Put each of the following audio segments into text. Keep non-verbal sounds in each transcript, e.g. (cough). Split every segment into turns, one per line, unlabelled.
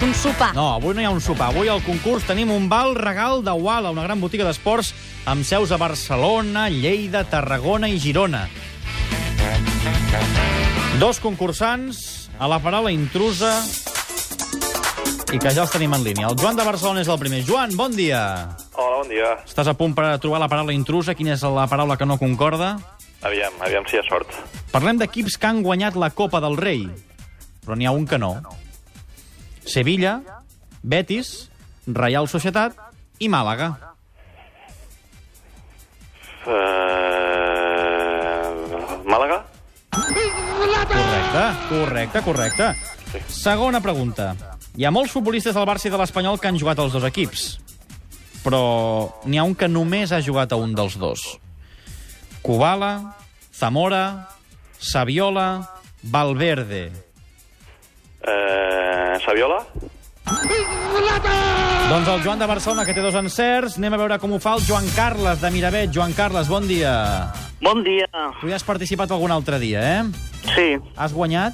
un sopar.
No, avui no hi ha un sopar. Avui al concurs tenim un val regal de Wala, una gran botiga d'esports amb seus a Barcelona, Lleida, Tarragona i Girona. Dos concursants a la paraula intrusa i que ja els tenim en línia. El Joan de Barcelona és el primer. Joan, bon dia.
Hola, bon dia.
Estàs a punt per trobar la paraula intrusa. Quina és la paraula que no concorda?
Aviam, aviam si hi ha sort.
Parlem d'equips que han guanyat la Copa del Rei, però n'hi ha un que no. Sevilla, Betis, Reial Societat i Màlaga.
Uh... Eh, Màlaga?
Correcte, correcte, correcte. Segona pregunta. Hi ha molts futbolistes del Barça i de l'Espanyol que han jugat als dos equips, però n'hi ha un que només ha jugat a un dels dos. Kubala, Zamora, Saviola, Valverde.
Uh... Saviola?
Doncs el Joan de Barcelona, que té dos encerts, anem a veure com ho fa el Joan Carles de Miravet. Joan Carles, bon dia.
Bon dia.
Tu ja has participat algun altre dia, eh?
Sí,
Has guanyat?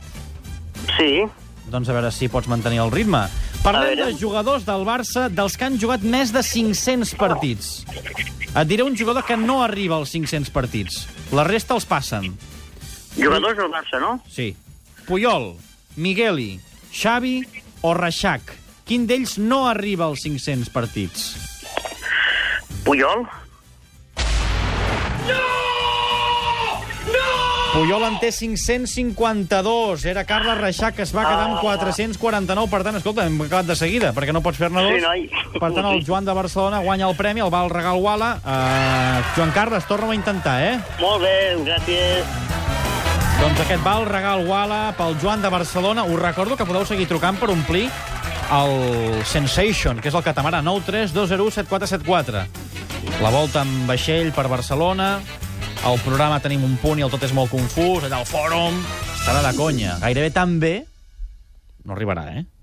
sí.
Doncs a veure si pots mantenir el ritme. Parlem
veure.
de jugadors del Barça, dels que han jugat més de 500 partits. Et diré un jugador que no arriba als 500 partits. La resta els passen.
Jugadors del Barça, no?
Sí. Puyol, Migueli, Xavi o Reixac. Quin d'ells no arriba als 500 partits?
Puyol?
Puyol en té 552. Era Carles Reixac, que es va
Ah.
quedar amb 449. Per tant, escolta, hem acabat de seguida, perquè no pots fer-ne dos.
(laughs) Sí, noi.
Per tant, el Joan de Barcelona guanya el premi, el va al regal Wala. Uh, Joan Carles, torna a intentar, eh?
Molt bé, gràcies.
Doncs aquest va al regal Wala pel Joan de Barcelona. Us recordo que podeu seguir trucant per omplir el Sensation, que és el catamarà 932017474. La volta amb vaixell per Barcelona, al programa tenim un punt i el tot és molt confús, allà al fòrum, estarà de conya. Gairebé tan bé... No arribarà, eh?